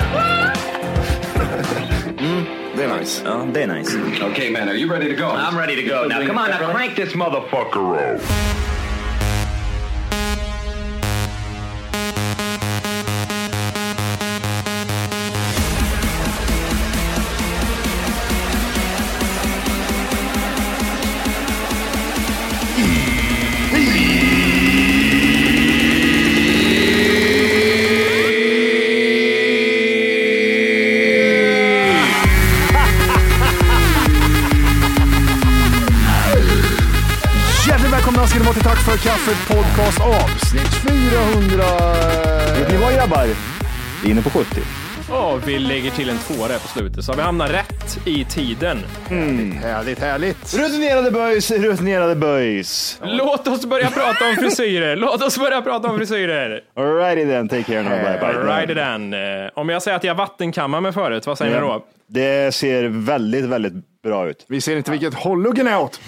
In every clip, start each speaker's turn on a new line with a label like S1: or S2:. S1: They're nice. Oh, they're nice.
S2: Okay, man, are you ready to go?
S1: I'm ready to go. Now, come on, now crank this motherfucker up.
S3: Hjärtligt välkomna ska ni vara till Tack för kaffet podcast avsnitt 400.
S4: Vi var grabbar inne på 70.
S5: Ja, vi lägger till en tvåa där på slutet, så vi hamnar rätt i tiden.
S3: Härligt, härligt.
S4: Rutinerade böjs, rutinerade böjs.
S5: Låt oss börja prata om frisyrer! Låt oss börja prata om frisyrer!
S4: Alrighty then, take care now. Bye, bye.
S5: Alright then. Eh, Om jag säger att jag vattenkammar mig förut, vad säger ni då?
S4: Det ser väldigt, väldigt bra ut.
S3: Vi ser inte vilket håll luggen är åt.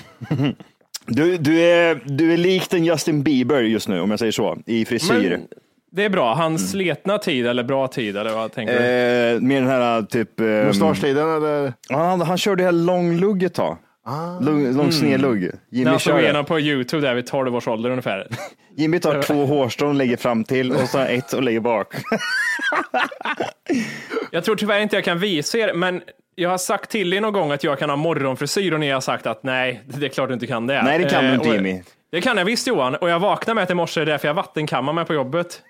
S4: Du, du, är, du är likt en Justin Bieber just nu, om jag säger så, i frisyr.
S5: Men det är bra. Hans sletna tid eller bra tid, eller vad tänker du?
S4: Mm. Eh, med den här typ... ehm,
S3: Mustasch-tiden eller?
S4: han, han körde det här långlugget ett tag. Lång, lång snedlugg.
S5: Ah. Mm. När
S4: Jimmy,
S5: han slog
S4: kör det.
S5: igenom på YouTube där vid 12 års ålder ungefär.
S4: Jimmy tar två hårstrån och lägger fram till och så ett och lägger bak.
S5: Jag tror tyvärr inte jag kan visa er, men jag har sagt till er någon gång att jag kan ha morgonfrisyr och ni har sagt att nej, det är klart du inte kan det.
S4: Nej, det kan du
S5: Eh,
S4: inte,
S5: och-
S4: Jimmy.
S5: Det kan jag visst Johan, och jag vaknade med att i morse, därför jag vattenkammar mig på jobbet.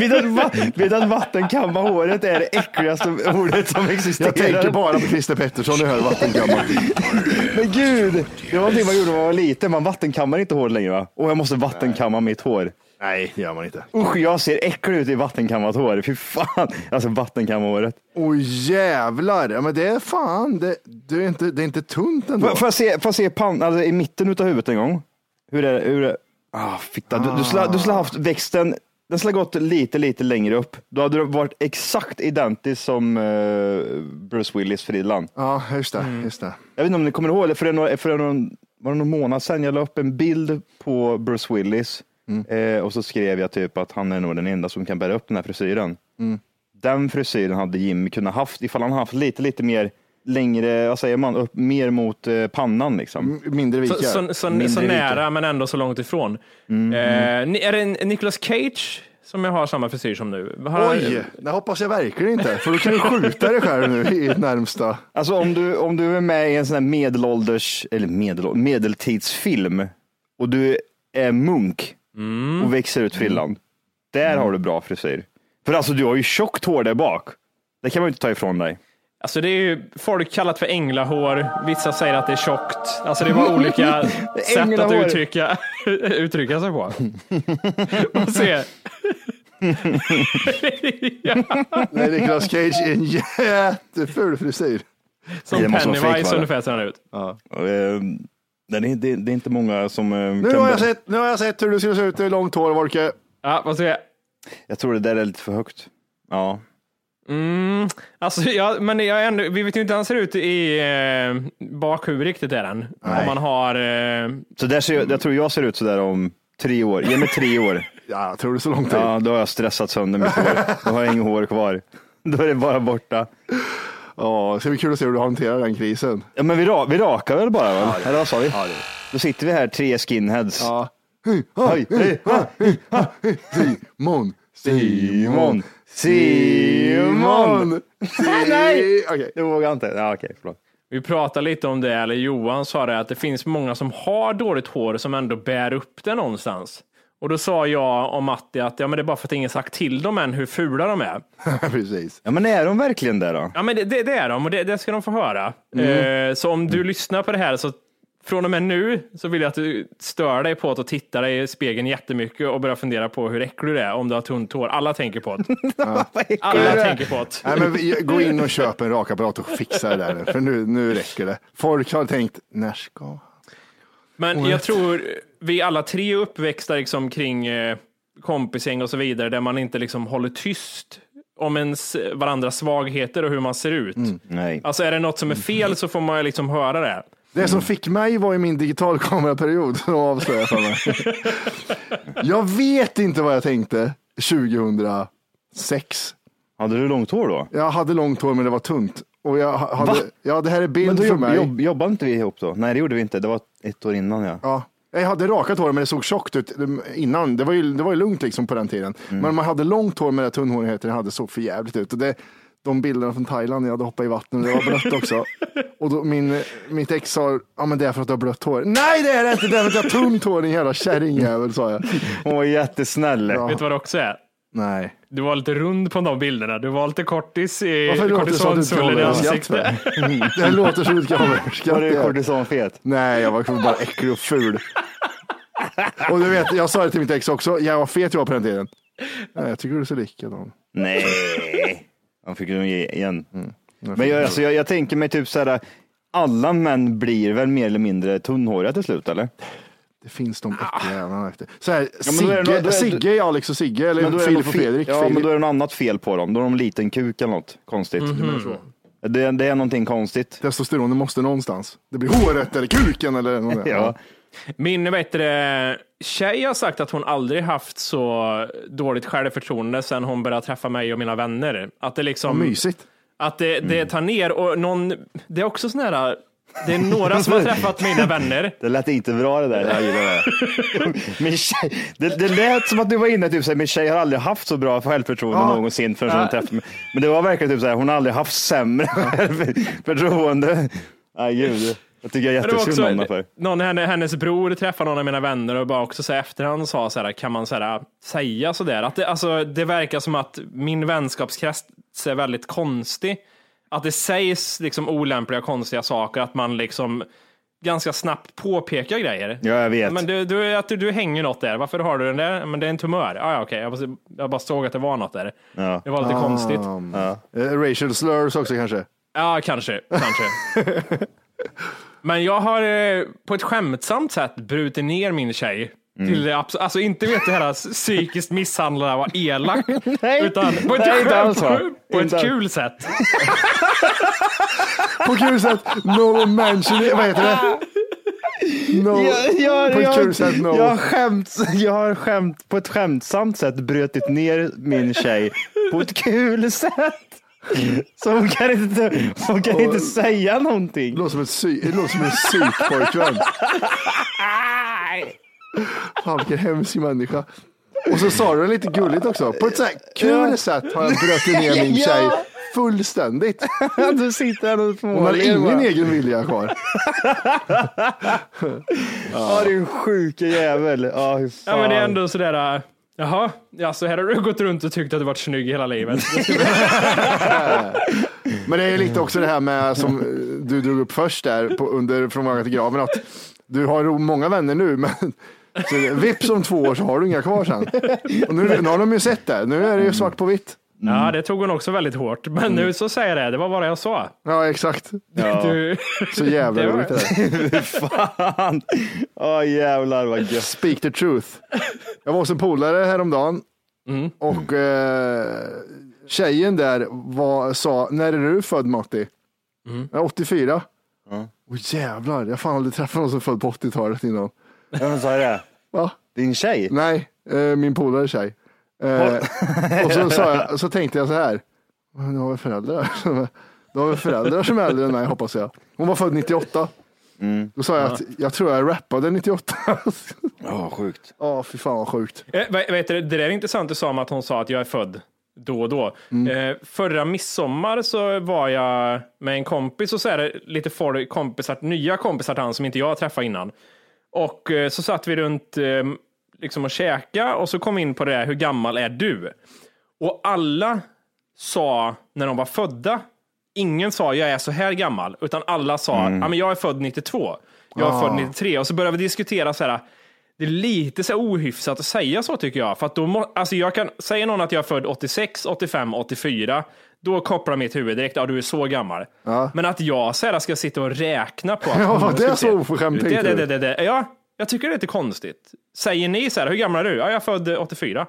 S4: Vid att, va- vid att vattenkamma håret är det äckligaste ordet som existerar.
S3: Jag tänker bara på Christer Pettersson när jag hör vattenkammar.
S4: Men gud, det var någonting man gjorde när man var liten. Man vattenkammar inte hår längre va? Och jag måste vattenkamma mitt hår.
S3: Nej, det gör man inte.
S4: Usch, jag ser äcklig ut i vattenkammat hår. Fy fan. Alltså vattenkammarhåret.
S3: Oj jävlar. Ja, men det är fan, det, det, är, inte, det är inte tunt ändå.
S4: Får får jag se, får jag se pan, alltså, i mitten utav huvudet en gång? Hur är det? Hur är det? Ah, fitta. Du, du skulle du skulle haft växten, den skulle ha gått lite, lite längre upp. Då hade du varit exakt identisk som eh, Bruce Willis Fridland.
S3: Ja, just det. Just det.
S4: Jag vet inte om ni kommer ihåg det, för det är några, för det är någon, var det någon månad sedan jag la upp en bild på Bruce Willis eh, och så skrev jag typ att han är nog den enda som kan bära upp den här frisyren. Den frisyren hade Jimmy kunnat haft ifall han haft lite, lite mer längre, vad säger man, upp mer mot eh, pannan liksom.
S2: Mm,
S3: M- Mindre
S5: Så,
S3: vikar.
S5: så, så,
S4: Mindre
S5: så
S4: vikar.
S5: nära men ändå så långt ifrån.
S4: Mm,
S5: Eh, ni- är det en- Nicolas Cage som jag har samma frisyr som nu? Har-
S3: Oj, det hoppas jag verkligen inte. För då kan du skjuta dig själv nu i närmsta.
S4: Alltså om du, om du är med i en sån här medelålders, eller medel, medeltidsfilm och du är munk och växer ut frillan.
S3: Mm.
S4: Där har du bra frisyr. För alltså du har ju tjockt hår där bak. Det kan man ju inte ta ifrån dig.
S5: Alltså det är ju folk kallat för änglahår, vissa säger att det är tjockt. Alltså det är bara olika sätt att
S4: Änglahår.
S5: uttrycka, uttrycka sig på. Man ser.
S3: Nej, Nicolas Cage är en jätteful frisyr.
S5: Som
S4: Det måste vara fake, va,
S5: Pennywise
S4: det?
S5: ungefär ser han ut.
S4: Ehm, nej, det, det, det är inte många som... eh,
S3: Nu
S4: kan
S3: har,
S4: börja-
S3: jag sett, nu har jag sett hur du skulle se ut i långt hår, Volke.
S5: Ja, vad säger jag?
S4: jag tror det där är lite för högt. Ja.
S5: Alltså, ja, men jag är ändå, vi vet ju inte hur han ser ut i eh, bakhuvud riktigt är han. Om man har... Eh,
S4: Så där ser jag, jag tror jag ser ut sådär om tre år. Ge mig tre år.
S3: Ja, jag tror det är så lång tid. Ja.
S4: Ja, då har jag stressat sönder mitt hår. Då har jag inget hår kvar. Då är det bara borta.
S3: det ska bli kul att se hur du hanterar den krisen.
S4: Ja, men vi, ra vi rakar väl bara? Va? Eller vad sa vi? Då sitter vi här, tre skinheads.
S3: Ja.
S2: hej, ha,
S4: Hej, hej, ha,
S2: hej, ha, hej, Simon,
S4: Simon,
S2: Simon,
S4: Simon.
S2: Simon.
S4: Nej.
S2: Si- Okej.
S4: Det vågar jag inte. Ja, okej, förlåt.
S5: Vi pratade lite om det, eller Johan sa det, att det finns många som har dåligt hår som ändå bär upp det någonstans. Och då sa jag och Matti att ja, men det är bara för att ingen sagt till dem än hur fula de är.
S2: Precis.
S4: Ja, men är de verkligen där då?
S5: Ja, men det, det, det är de och det, det ska de få höra. Eh, så om du lyssnar på det här så från och med nu så vill jag att du stör dig på att och titta dig i spegeln jättemycket och börjar fundera på hur äcklig du är om du har tunt hår. Alla tänker på det. Alla tänker på det.
S2: Nej, men vi- gå in och köp en rakapparat och fixa det där nu, för nu, nu räcker det. Folk har tänkt, när ska
S5: Men jag tror vi alla tre är uppväxta liksom kring eh, kompisgäng och så vidare där man inte liksom håller tyst om ens varandras svagheter och hur man ser ut.
S2: Mm.
S4: Nej.
S5: Alltså är det något som är fel så får man ju liksom höra det.
S2: Det som fick mig var i min digitalkameraperiod, så avslöjar jag för mig. Jag vet inte vad jag tänkte 2006.
S4: Hade du långt hår då?
S2: Jag hade långt hår men det var tunt. Och jag ha-
S4: Va?
S2: hade, ja, det här är
S4: Men då
S2: bild för
S4: jobb,
S2: mig.
S4: jobb, jobbade inte vi ihop då? Nej, det gjorde vi inte. Det var ett år innan ja.
S2: Ja. Jag hade rakat hår men det såg tjockt ut innan. Det var ju, det var ju lugnt liksom på den tiden. Men man hade långt hår med det här tunnhårigheten det hade såg för jävligt ut. Och det, de bilderna från Thailand när jag hade hoppat i vattnet, det var blött också. Och då min, mitt ex sa, ja men det är för att du har blött hår. Nej det är det inte, det är för att jag har tunt hår din jävla kärringjävel sa jag.
S4: Hon var jättesnäll.
S5: Vet du vad det också är?
S2: Nej.
S5: Du var lite rund på de bilderna. Du var lite kortis i
S2: Varför låter det som att du
S5: kortisonsvullen Eh, i
S2: trollar skatt
S5: ansiktet.
S2: för? Det låter som att du
S4: Var du
S2: trollar
S4: kortisonfet?
S2: Nej, jag var liksom bara äcklig och ful. Och du vet, jag sa det till mitt ex också, jag var fet jag var på den tiden. Nej, jag tycker du ser likadan.
S4: Nej. Han fick ju ge igen. Men jag, alltså, jag, jag tänker mig typ så här. Alla män blir väl mer eller mindre tunnhåriga till slut eller?
S2: Det finns de äckliga jävlarna efter. Så här,
S4: men då är det
S2: Sigge,
S4: nog- då är-
S2: Sigge är Alex och Sigge,
S4: då
S2: eller
S4: är det
S2: Filip
S4: något
S2: och
S4: fe-
S2: Fredrik.
S4: Ja,
S2: Filip.
S4: men då är det något annat fel på dem. Då har de liten kuk eller något konstigt.
S2: Mhm.
S4: Det, det är någonting konstigt.
S2: Testosteronet måste någonstans. Det blir håret eller kuken eller något.
S4: Ja.
S5: Min vet tjej har sagt att hon aldrig haft så dåligt självförtroende sedan hon började träffa mig och mina vänner. Att det
S2: Vad
S5: liksom,
S2: mysigt.
S5: Att det, det tar ner och någon, det är också sån här, det är några som har träffat mina vänner.
S4: Det lät inte bra det där. Jag gillar det. Min tjej, det, det lät som att du var inne typ såhär, min tjej har aldrig haft så bra självförtroende
S2: Ja.
S4: någonsin förrän hon träffade mig. Men det var verkligen typ såhär, hon har aldrig haft sämre självförtroende. Nej gud, jag tycker jag är
S5: Men det var
S4: jättesynd om henne
S5: också,
S4: för.
S5: någon, henne, hennes bror träffade någon av mina vänner och bara också så här, efterhand sa så här, kan man så här, säga så där? Att det, alltså, det verkar som att min vänskapskrets är väldigt konstig. Att det sägs liksom olämpliga, konstiga saker, att man liksom ganska snabbt påpekar grejer.
S4: Ja, jag vet.
S5: Men du, du, att du, du hänger något där. Varför har du den där? Men det är en tumör. Ah, ja, okej. Jag, bara- jag bara såg att det var något där.
S4: Ja.
S5: Det var lite konstigt.
S2: Eh, racial slurs också kanske.
S5: Ja, kanske. kanske. Men jag har eh, på ett skämtsamt sätt brutit ner min tjej.
S4: Mm.
S5: Till det abs- alltså inte vet det här psykiskt misshandlade och elak.
S4: Nej.
S5: utan på ett,
S4: Nej, inte
S5: skämt-
S4: alls, va?
S5: på
S4: Inte
S5: ett
S4: alls.
S5: kul sätt.
S2: På kul sätt, no mention, vad heter det? No, på ett kul sätt, no.
S4: jag, har skämt, jag har skämt på ett skämtsamt sätt brutit ner min tjej på ett kul sätt. Så hon kan inte, hon kan inte säga någonting.
S2: Det låter som, ett sy- det låter som en psykpojkvän. Fan vilken hemsk människa. Och så sa du det lite gulligt också. På ett så här kul sätt har jag brutit ner min tjej fullständigt.
S4: Du sitter här och
S2: Hon har
S4: småler.
S2: ingen
S4: bara.
S2: egen vilja kvar.
S4: Ja, din sjuke jävel. Ja, hur fan.
S5: Ja, men det är ändå sådär. eh, Jaha, alltså här har du gått runt och tyckt att du varit snygg hela livet.
S2: Men det är lite också det här med som eh, du drog upp först där på, under Från vaggan till graven. Att du har ro- många vänner nu men så vips om två år så har du inga kvar sen. Och nu, nu har de ju sett det. Nu är det ju svart på vitt.
S5: Ja, det tog hon också väldigt hårt. Men
S4: Mm.
S5: nu så säger jag det, det var bara jag sa.
S2: Ja exakt.
S5: Du,
S2: Så jävla
S5: Det var-
S2: roligt det där.
S4: Fan. Ja, jävlar vad gött.
S2: Speak the truth. Jag var hos en polare häromdagen
S5: Mm.
S2: och eh, tjejen där var, sa, när är du född Matti?
S5: Mm.
S2: Jag är 84. Åh jävlar, jag har fan aldrig träffat någon som är född på 80-talet innan.
S4: Vem sa det?
S2: Va?
S4: Din tjej?
S2: Nej, eh, min polare tjej. Eh, och så, sa jag, så tänkte jag så här, "Men du har väl föräldrar? som är- Du har väl föräldrar som är äldre än mig hoppas jag. Hon var född 98. Då sa jag att jag tror jag rappade 98.
S4: Ja, sjukt.
S2: Ja, fy fan vad sjukt.
S5: Eh, vad- vad heter det? det där är intressant du sa om att hon sa att jag är född då och då. Eh, förra midsommar så var jag med en kompis och så är det lite folk, kompisar, nya kompisar till han som inte jag träffade innan. Och eh, så satt vi runt eh, liksom och käka och så kom vi in på det där, hur gammal är du? Och alla sa när de var födda, ingen sa jag är så här gammal, utan alla sa
S2: Mm.
S5: ja men jag är född 92, jag är
S2: Ah.
S5: född 93. Och så började vi diskutera så här, det är lite så här ohyfsat att säga så tycker jag. För att då må, alltså jag kan, säger någon att jag är född 86, 85, 84, då kopplar mitt huvud direkt, ja du är så gammal. Men att jag så här, ska sitta och räkna på. att-
S2: Ja,
S5: Mm,
S2: det är
S5: ska se.
S2: så oförskämt,
S5: det,
S2: tänkte
S5: det,
S2: du.
S5: det, det, det. Ja, jag tycker det är lite konstigt. Säger ni så här, hur gammal är du? Ja, jag är född 84.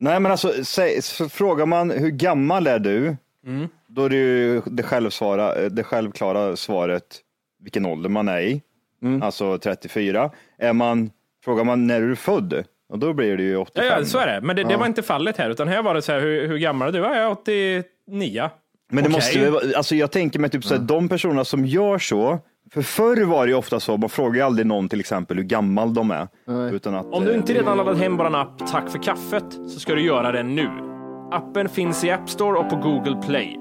S4: Nej, men alltså, säg, så frågar man hur gammal är du?
S5: Mm.
S4: Då är det ju det, självsvara, eh, det självklara svaret vilken ålder man är i,
S5: Mm.
S4: alltså 34. Är man, frågar man när är du född? Och då blir det ju 85.
S5: Ja, ja, så är det. Men det, det var inte fallet här, utan här var det så här, hur, hur gammal är du? Ja, jag är 89.
S4: Men det
S5: Okej. Mm.
S4: måste ju, vara- alltså jag tänker mig typ så här, de personerna som gör så, för förr var det ju ofta så, man frågar ju aldrig någon till exempel hur gammal de är. Utan att,
S5: Om du
S4: eh,
S5: inte redan laddat hem våran app Tack för kaffet så ska du göra det nu. Appen finns i App Store och på Google Play.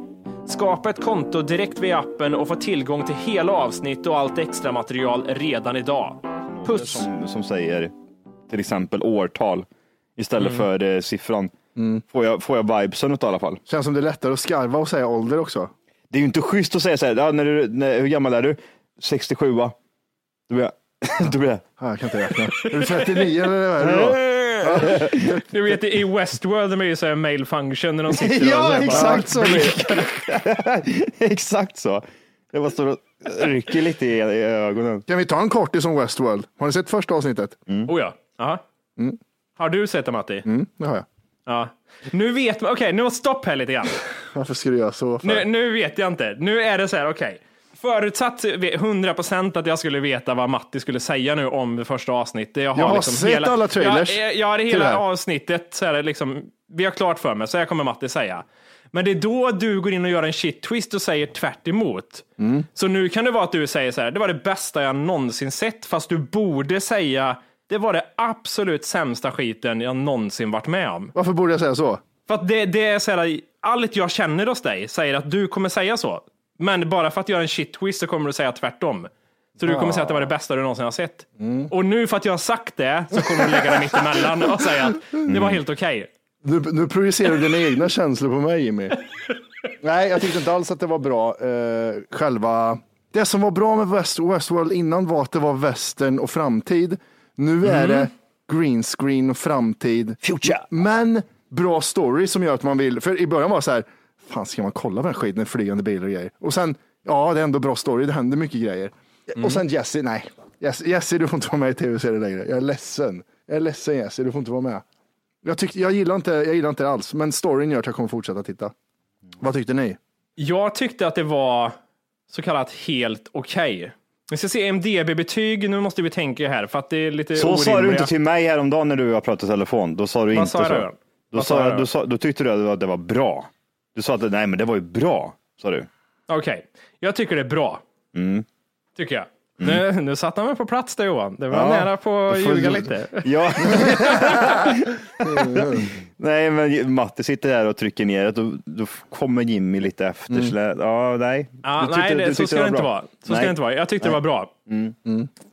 S5: Skapa ett konto direkt via appen och få tillgång till hela avsnitt och allt extra material redan idag. Puss!
S4: eh, som, som säger till exempel årtal istället
S5: Mm.
S4: för eh, siffran. Får, jag, får jag vibesen utav i alla fall.
S2: Känns som det är lättare att skarva och säga ålder också.
S4: Det är ju inte schysst att säga så här, ja, när du, när, hur gammal är du? 67 va? Då blir jag, då blir jag
S2: Ja, jag kan inte räkna. Är du 39 eller vad är det då?
S5: Du vet i Westworld, de är ju såhär mail function när de sitter och så
S4: ja
S5: här bara-
S4: exakt så blir det. Exakt så. Jag bara står och rycker lite i, i ögonen.
S2: Kan vi ta en kortis om Westworld? Har ni sett första avsnittet?
S5: Oh ja. Aha. Mm. Har du sett det Matti?
S2: Mm, det har jag.
S5: Ja. Nu vet man, okej nu stopp här lite grann.
S2: Varför skulle jag göra så? För?
S5: Nu, nu vet jag inte. Nu är det så här, okej. Förutsatt 100% att jag skulle veta vad Matti skulle säga nu om det första avsnittet. Jag har,
S2: Jag har
S5: liksom
S2: sett
S5: hela,
S2: alla trailers
S5: Jag, jag har
S2: till det
S5: hela
S2: här.
S5: avsnittet, så här, liksom, vi har klart för mig, så här kommer Matti säga. Men det är då du går in och gör en shit twist och säger tvärt emot.
S2: Mm.
S5: Så nu kan det vara att du säger så här, det var det bästa jag någonsin sett, fast du borde säga det var det absolut sämsta skiten jag någonsin varit med om.
S2: Varför borde jag säga så?
S5: För att det, det är så här, allt jag känner hos dig säger att du kommer säga så. Men bara för att göra en shit twist så kommer du säga tvärtom. Så du kommer säga att det var det bästa du någonsin har sett. Och nu för att jag har sagt det så kommer du lägga det mitt emellan och säga att det var helt okej.
S2: Nu, nu projicerar du dina egna känslor på mig Jimmy. Nej, jag tyckte inte alls att det var bra. Eh, själva... Det som var bra med West, Westworld innan var att det var västern och framtid. Nu är det green screen och framtid.
S4: Future.
S2: Men bra story som gör att man vill. För i början var det så här, fan ska man kolla på den skiten, flygande bilar och grejer. Och sen, ja det är ändå bra story, det händer mycket grejer. Och sen Jesse, nej. Jesse, Jesse, du får inte vara med i tv-serien längre. Jag är ledsen. Jag är ledsen Jesse, du får inte vara med. Jag, tyckte, jag, gillar inte, jag gillar inte det alls, men storyn gör att jag kommer fortsätta titta. Vad tyckte ni?
S5: Jag tyckte att det var så kallat helt okej. Vi ska se MDB-betyg, nu måste vi tänka här för att det är lite
S4: Så sa du
S5: orimliga-
S4: inte till mig häromdagen när du och jag pratade i telefon. Då sa du inte
S5: sa jag
S4: så.
S5: då?
S4: Då,
S5: Vad sa jag
S4: sa,
S5: då?
S4: då, sa, då tyckte du att det var bra. Du sa att nej, men det var ju bra, sa du.
S5: Okej, jag tycker det är bra.
S4: Mm.
S5: Tycker jag. Nu, nu satte han mig på plats där Johan. Det var
S4: Ja.
S5: nära på att
S4: Då får
S5: ljuga
S4: du-
S5: lite.
S4: Ja. nej, men Matte sitter där och trycker ner det. Då, då kommer Jimmy lite efter. så där- Ja, nej.
S5: Ja,
S4: Du tyckte-
S5: nej,
S4: du
S5: det,
S4: tyckte
S5: så ska det,
S4: var
S5: inte
S4: bra.
S5: vara. Så
S4: Nej.
S5: ska det inte vara. Jag tyckte det var bra.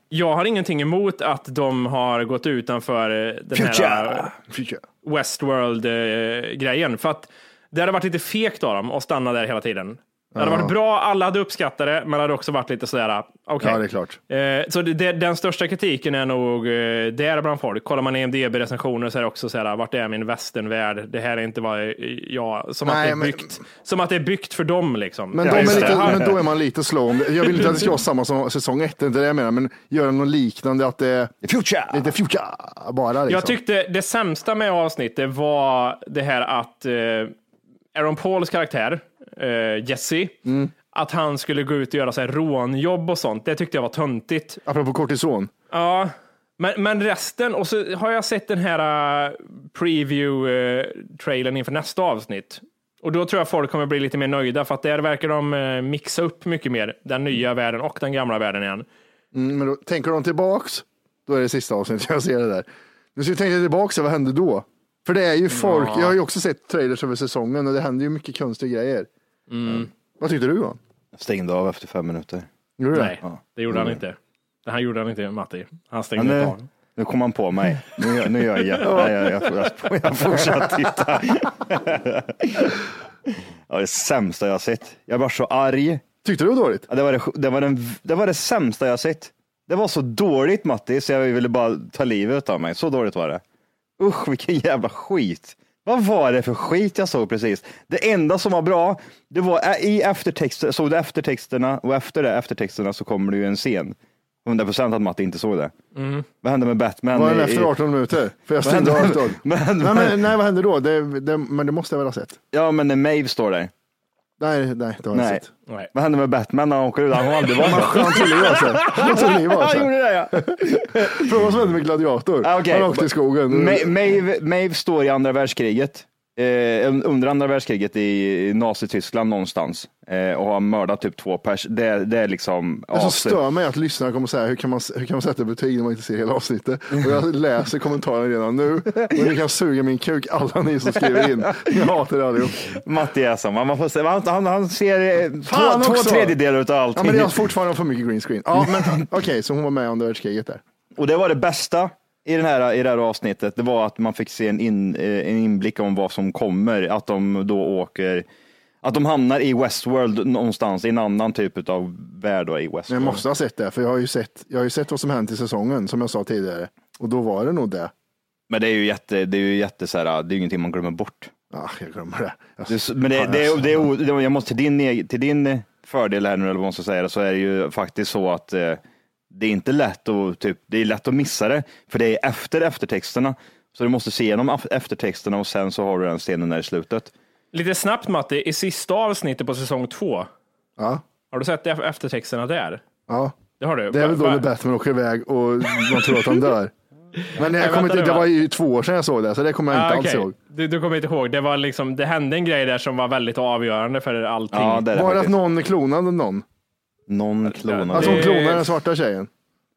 S5: Jag har ingenting emot att de har gått utanför eh, den här eh,
S4: Future.
S2: Future.
S5: Westworld-grejen. För att det hade varit lite fegt av dem att stanna där hela tiden. Det hade varit bra, alla hade uppskattat det, men det hade också varit lite sådär, eh, okej.
S2: Ja, det är klart.
S5: Eh, Så det, det, den största kritiken är nog eh, där bland folk. Kollar man IMDB-recensioner så är det också så här, vart är min västernvärld? Det här är inte vad jag... Som, att,
S2: Nej,
S5: det är
S2: men-
S5: byggt, som att det är byggt för dem liksom.
S2: Men,
S5: Ja,
S2: de är
S5: just det.
S2: lite, men då är man lite slow. om det. Jag vill inte att det ska vara samma som säsong ett, det är inte det jag menar, men göra något liknande, att det är
S4: Future!
S2: lite future bara. Liksom.
S5: Jag tyckte det sämsta med avsnittet var det här att eh, Aaron Pauls karaktär, eh, Jesse, att han skulle gå ut och göra så här rånjobb och sånt. Det tyckte jag var töntigt.
S2: Apropå kortison.
S5: Ja, men, men resten, och så har jag sett den här eh, preview-trailern inför nästa avsnitt. Och då tror jag folk kommer bli lite mer nöjda för att där verkar de eh, mixa upp mycket mer, den nya världen och den gamla världen igen.
S2: Mm, men då, tänker de tillbaks, då är det sista avsnittet jag ser det där. Nu ska vi tänka tillbaks, vad hände då? För det är ju folk, jag har ju också sett trailers över säsongen och det händer ju mycket konstiga grejer.
S5: Mm.
S2: Vad tyckte du Johan?
S4: Jag stängde av efter fem minuter.
S2: Gjorde du det?
S5: Nej, det gjorde han inte. Det här gjorde han inte, Matti. Han
S4: Men
S5: stängde
S4: nu,
S5: av.
S4: nu kom han på mig. Nu, gör- nu gör jag jävla... Jag, jag, jag, jag, jag fortsatte titta. ja, det sämsta jag har sett. Jag var så arg.
S2: Tyckte du det var dåligt?
S4: Ja, det, var det, det, var den, det var det sämsta jag sett. Det var så dåligt Matti, så jag ville bara ta livet av mig. Så dåligt var det. Usch, vilken jävla skit. Vad var det för skit jag såg precis? Det enda som var bra, det var ä- i eftertexter, såg du eftertexterna och efter det eftertexterna så kommer det ju en scen. 100 procent att Matti inte såg det. Vad hände med Batman?
S2: Mm. Var den
S4: i-
S2: efter
S4: i-
S2: 18 minuter? För jag
S4: Vad
S2: stängde av
S4: hände?
S2: ett tag.
S4: Men-
S2: nej, men, nej, vad hände då? Det, det, men det måste jag väl ha sett?
S4: Ja, men när Maeve står där.
S2: Nej, nej, det har jag
S4: Nej.
S2: inte sett.
S5: Nej.
S4: Vad hände med Batman när han åker ut? Han har aldrig varit där.
S2: Han tog livet av sig. Han tog livet av
S4: Han
S2: sig.
S4: gjorde det ja.
S2: alltså. Fråga vad som hände med Gladiator.
S4: Ah, okej.
S2: Han åkte i skogen.
S4: Ma- Maeve, Maeve står i andra världskriget, eh, under andra världskriget i Nazityskland någonstans eh, och har mördat typ två pers. Det, det är liksom
S2: Det som
S4: asen.
S2: stör mig är att lyssnarna kommer säga, hur kan, man, hur kan man sätta betyg när man inte ser hela avsnittet? Och jag läser kommentarerna redan nu. Och ni kan suga min kuk, alla ni som skriver in. Jag hatar er allihop.
S4: Matti är som, man får se, han, han, han ser eh,
S2: Fan
S4: två, två
S2: också!
S4: tredjedelar av allting.
S2: Ja, men det är fortfarande för mycket green screen. Ja, men okej, så hon var med under världskriget där.
S4: Och det var det bästa i, den här, i det här avsnittet, det var att man fick se en, in, eh, en inblick om vad som kommer, att de då åker att de hamnar i Westworld någonstans, i en annan typ av värld då, i
S2: Men jag
S4: Westworld.
S2: måste ha sett det, för jag har ju sett, jag har ju sett vad som hänt i säsongen, som jag sa tidigare. Och då var det nog det.
S4: Men det är ju jätte, det är ju jätte så här, det är ju ingenting man glömmer bort.
S2: Ah, jag glömmer det. Jag-
S4: Det, är så- men det, det,
S2: alltså.
S4: är- det, är o- det, jag måste till din, eg- till din fördel här nu, eller vad man ska säga, så är det ju faktiskt så att eh, det är inte lätt att, typ, det är lätt att missa det, för det är efter eftertexterna. Så du måste se igenom af- eftertexterna och sen så har du den scenen där i slutet.
S5: Lite snabbt, Matti. I sista avsnittet på säsong två,
S2: Ja,
S5: har du sett det- eftertexterna där?
S2: ja.
S5: Det har du.
S2: Det är väl då
S5: Va- va-
S2: när Batman åker iväg och man tror att han dör. Men jag kommer
S5: vänta
S2: inte,
S5: nu,
S2: det
S5: va?
S2: var ju två år sedan jag såg det, så det kommer jag inte
S5: Ah,
S2: alls
S5: okej.
S2: ihåg.
S5: Du, du kommer inte ihåg. Det, var liksom, det hände en grej där som var väldigt avgörande för allting.
S4: Ja, det är det
S2: Var det att
S4: faktiskt.
S2: någon klonade någon?
S4: Någon klonar
S2: Alltså hon
S5: Det-
S2: klonar den svarta tjejen?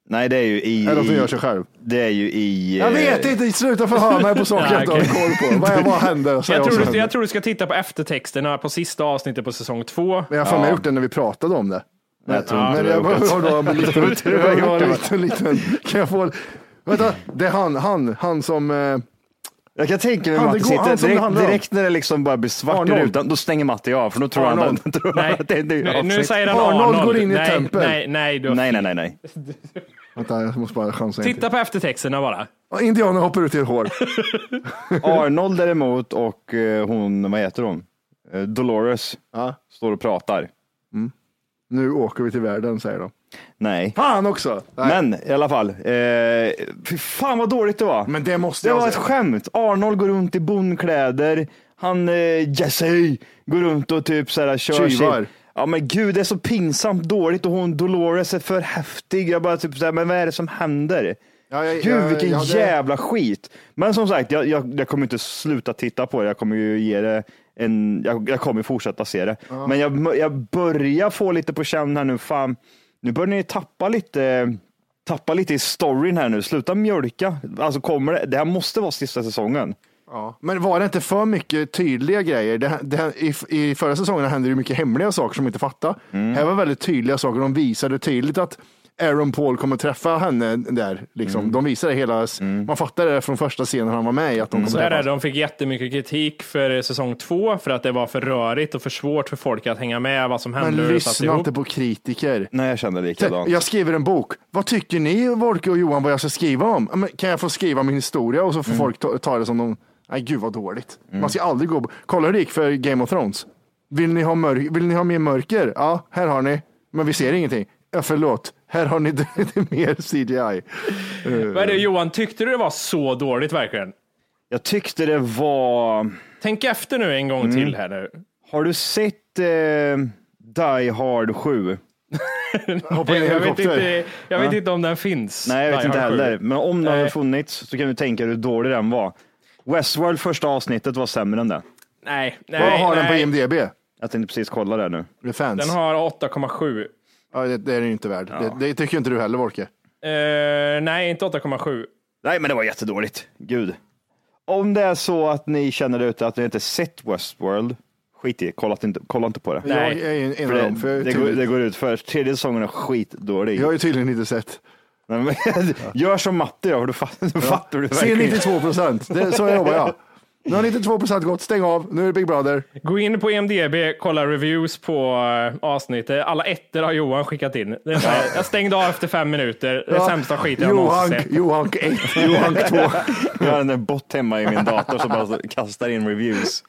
S4: Nej, det är ju i...
S2: Eller att hon gör
S4: i
S2: sig själv?
S4: det är ju i...
S2: Jag
S4: eh,
S2: vet inte, sluta förhöra mig på saker jag inte har
S5: Nej,
S2: koll på. Vad, är- vad hände? Säg
S5: jag,
S2: vad som
S5: tror du,
S2: hände.
S5: jag tror du ska titta på eftertexterna på sista avsnittet på säsong två.
S2: Men jag har för mig gjort det när vi pratade om det.
S4: Nej, jag tror inte
S2: Men
S4: det
S2: jag
S4: har gjort
S2: har då blivit
S4: inte du har gjort det, va?
S2: liten, liten, kan jag få... Vänta, det är han, han, han som... eh,
S4: Jag kan tänka mig
S2: Han, det
S4: Matti
S2: går-
S4: sitter
S2: han som det
S4: direkt,
S2: handlar om.
S4: direkt när det liksom bara blir svart i
S2: Arnold.
S4: rutan, då stänger Matti av för då tror han,
S2: Arnold.
S4: att- tror han
S5: Nej,
S4: att det är en ny
S5: nu, nu
S4: avsnitt.
S5: säger han
S2: Arnold
S5: Arnold.
S2: går in i ett
S5: nej,
S2: tempel.
S5: Nej, nej, du har
S4: Nej,
S5: fel.
S4: nej, nej, nej.
S2: Vänta, jag måste bara chansa en
S5: Titta på eftertexterna bara.
S2: till. Indianer hoppar ut i ett hår.
S4: Arnold däremot och eh, hon, vad heter hon? Eh, Dolores
S2: Ja.
S4: står och pratar.
S2: Nu åker vi till världen, säger de.
S4: Nej.
S2: Fan också! Nej.
S4: Men i alla fall, eh, fy fan vad dåligt det var.
S2: Men det måste
S4: det
S2: jag
S4: var ett
S2: säga.
S4: skämt. Arnold går runt i bondkläder. Han, eh, Jesse, går runt och typ så här, kör
S2: Tjuvar.
S4: sin- Ja men gud, det är så pinsamt dåligt och hon Dolores är för häftig. Jag bara typ så här, men vad är det som händer?
S2: Ja, jag-
S4: Gud
S2: jag-
S4: vilken
S2: ja, det-
S4: jävla skit. Men som sagt, jag, jag, jag kommer inte sluta titta på det. Jag kommer ju ge det en, jag, jag kommer fortsätta se det. Men jag, jag börjar få lite på känn här nu, fan, nu börjar ni tappa lite, tappa lite i storyn här nu. Sluta mjölka. Alltså kommer det, det här måste vara sista säsongen.
S2: Ja. Men var det inte för mycket tydliga grejer? Det, det, i, I förra säsongen hände det mycket hemliga saker som vi inte fattade. Här var väldigt tydliga saker. De visade tydligt att Aaron Paul kommer träffa henne där. Liksom. De visade hela, man fattade det från första scenen han var med i. Att de
S5: Så
S2: kommer
S5: här är
S2: träffas.
S5: det, de fick jättemycket kritik för säsong två för att det var för rörigt och för svårt för folk att hänga med vad som hände. och hur
S2: Men
S5: det satt
S2: lyssna
S5: ihop.
S2: inte på kritiker.
S4: Nej, jag kände likadant.
S2: Jag skriver en bok. Vad tycker ni, Volke och Johan, vad jag ska skriva om? Ja, Men kan jag få skriva min historia och så
S4: Mm.
S2: får folk ta, ta det som de... Nej, gud vad dåligt. Man ska aldrig gå... Kolla hur det gick för Game of Thrones. Vill ni ha, mörk... Vill ni ha mer mörker? Ja, här har ni. Men vi ser ingenting. Ja, förlåt. Här har ni lite mer CGI.
S5: Vad är det, Johan, tyckte du det var så dåligt verkligen?
S4: Jag tyckte det var...
S5: Tänk efter nu en gång
S2: Mm.
S5: till här nu.
S4: Har du sett eh, Die Hard 7?
S2: Hoppa in i
S5: Jag vet,
S2: helikopter.
S5: inte, jag vet inte om den finns.
S4: Nej, jag vet
S5: Die
S4: inte
S5: Hard sju.
S4: heller. Men om den hade
S5: Nej.
S4: funnits så kan du tänka dig hur dålig den var. Westworld första avsnittet var sämre än det.
S5: Nej, nej,
S2: Vad har den på
S5: nej.
S2: IMDB?
S4: Jag tänkte precis kolla det nu.
S2: Det är fans.
S5: Den har 8,7.
S2: Ja, det, det är den ju inte värd. Det, det tycker ju inte du heller, Wolke.
S5: Eh, nej, inte 8,7.
S4: Nej, men det var jättedåligt. Gud. Om det är så att ni känner ute att ni inte sett Westworld, skit i kolla inte, kolla inte på det.
S2: Jag
S5: Nej.
S2: är ju en
S4: För
S2: av
S4: det,
S2: dem. För jag, är
S4: det, går,
S2: tydligen,
S4: det går ut först. Tredje säsongen är skitdålig.
S2: jag har ju tydligen inte sett.
S4: Nej, men, Gör som matte då, för då fattar, då fattar du
S2: Se
S4: verkligen.
S2: 92 procent. Så jobbar jag. Nu har 92 procent gått. Stäng av. Nu är det Big Brother.
S5: Gå in på IMDB, kolla reviews på eh, avsnittet. Alla ettor har Johan skickat in. Det är så här, jag stängde av efter fem minuter. Det är sämsta skiten jag
S2: Johan,
S5: någonsin sett.
S2: Johan 1, Johan 2.
S4: Jag har en där bot hemma i min dator som bara kastar in reviews.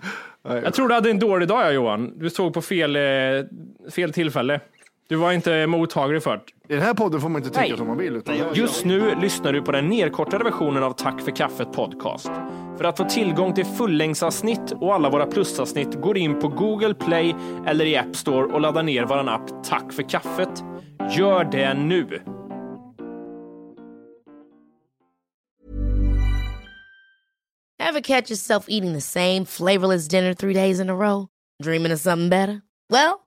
S5: Jag tror du hade en dålig dag, ja, Johan. Du såg på fel, eh, fel tillfälle. Du var inte mottaglig för det.
S2: I den här podden får man inte tycka som man vill. Utan
S5: Just nu lyssnar du på den nedkortade versionen av Tack för kaffet podcast. För att få tillgång till fullängdsavsnitt och alla våra plusavsnitt går in på Google Play eller i App Store och laddar ner vår app Tack för kaffet. Gör det nu!
S6: Ever catch yourself eating the same flavorless dinner three days in a row? Dreaming of something better? Well,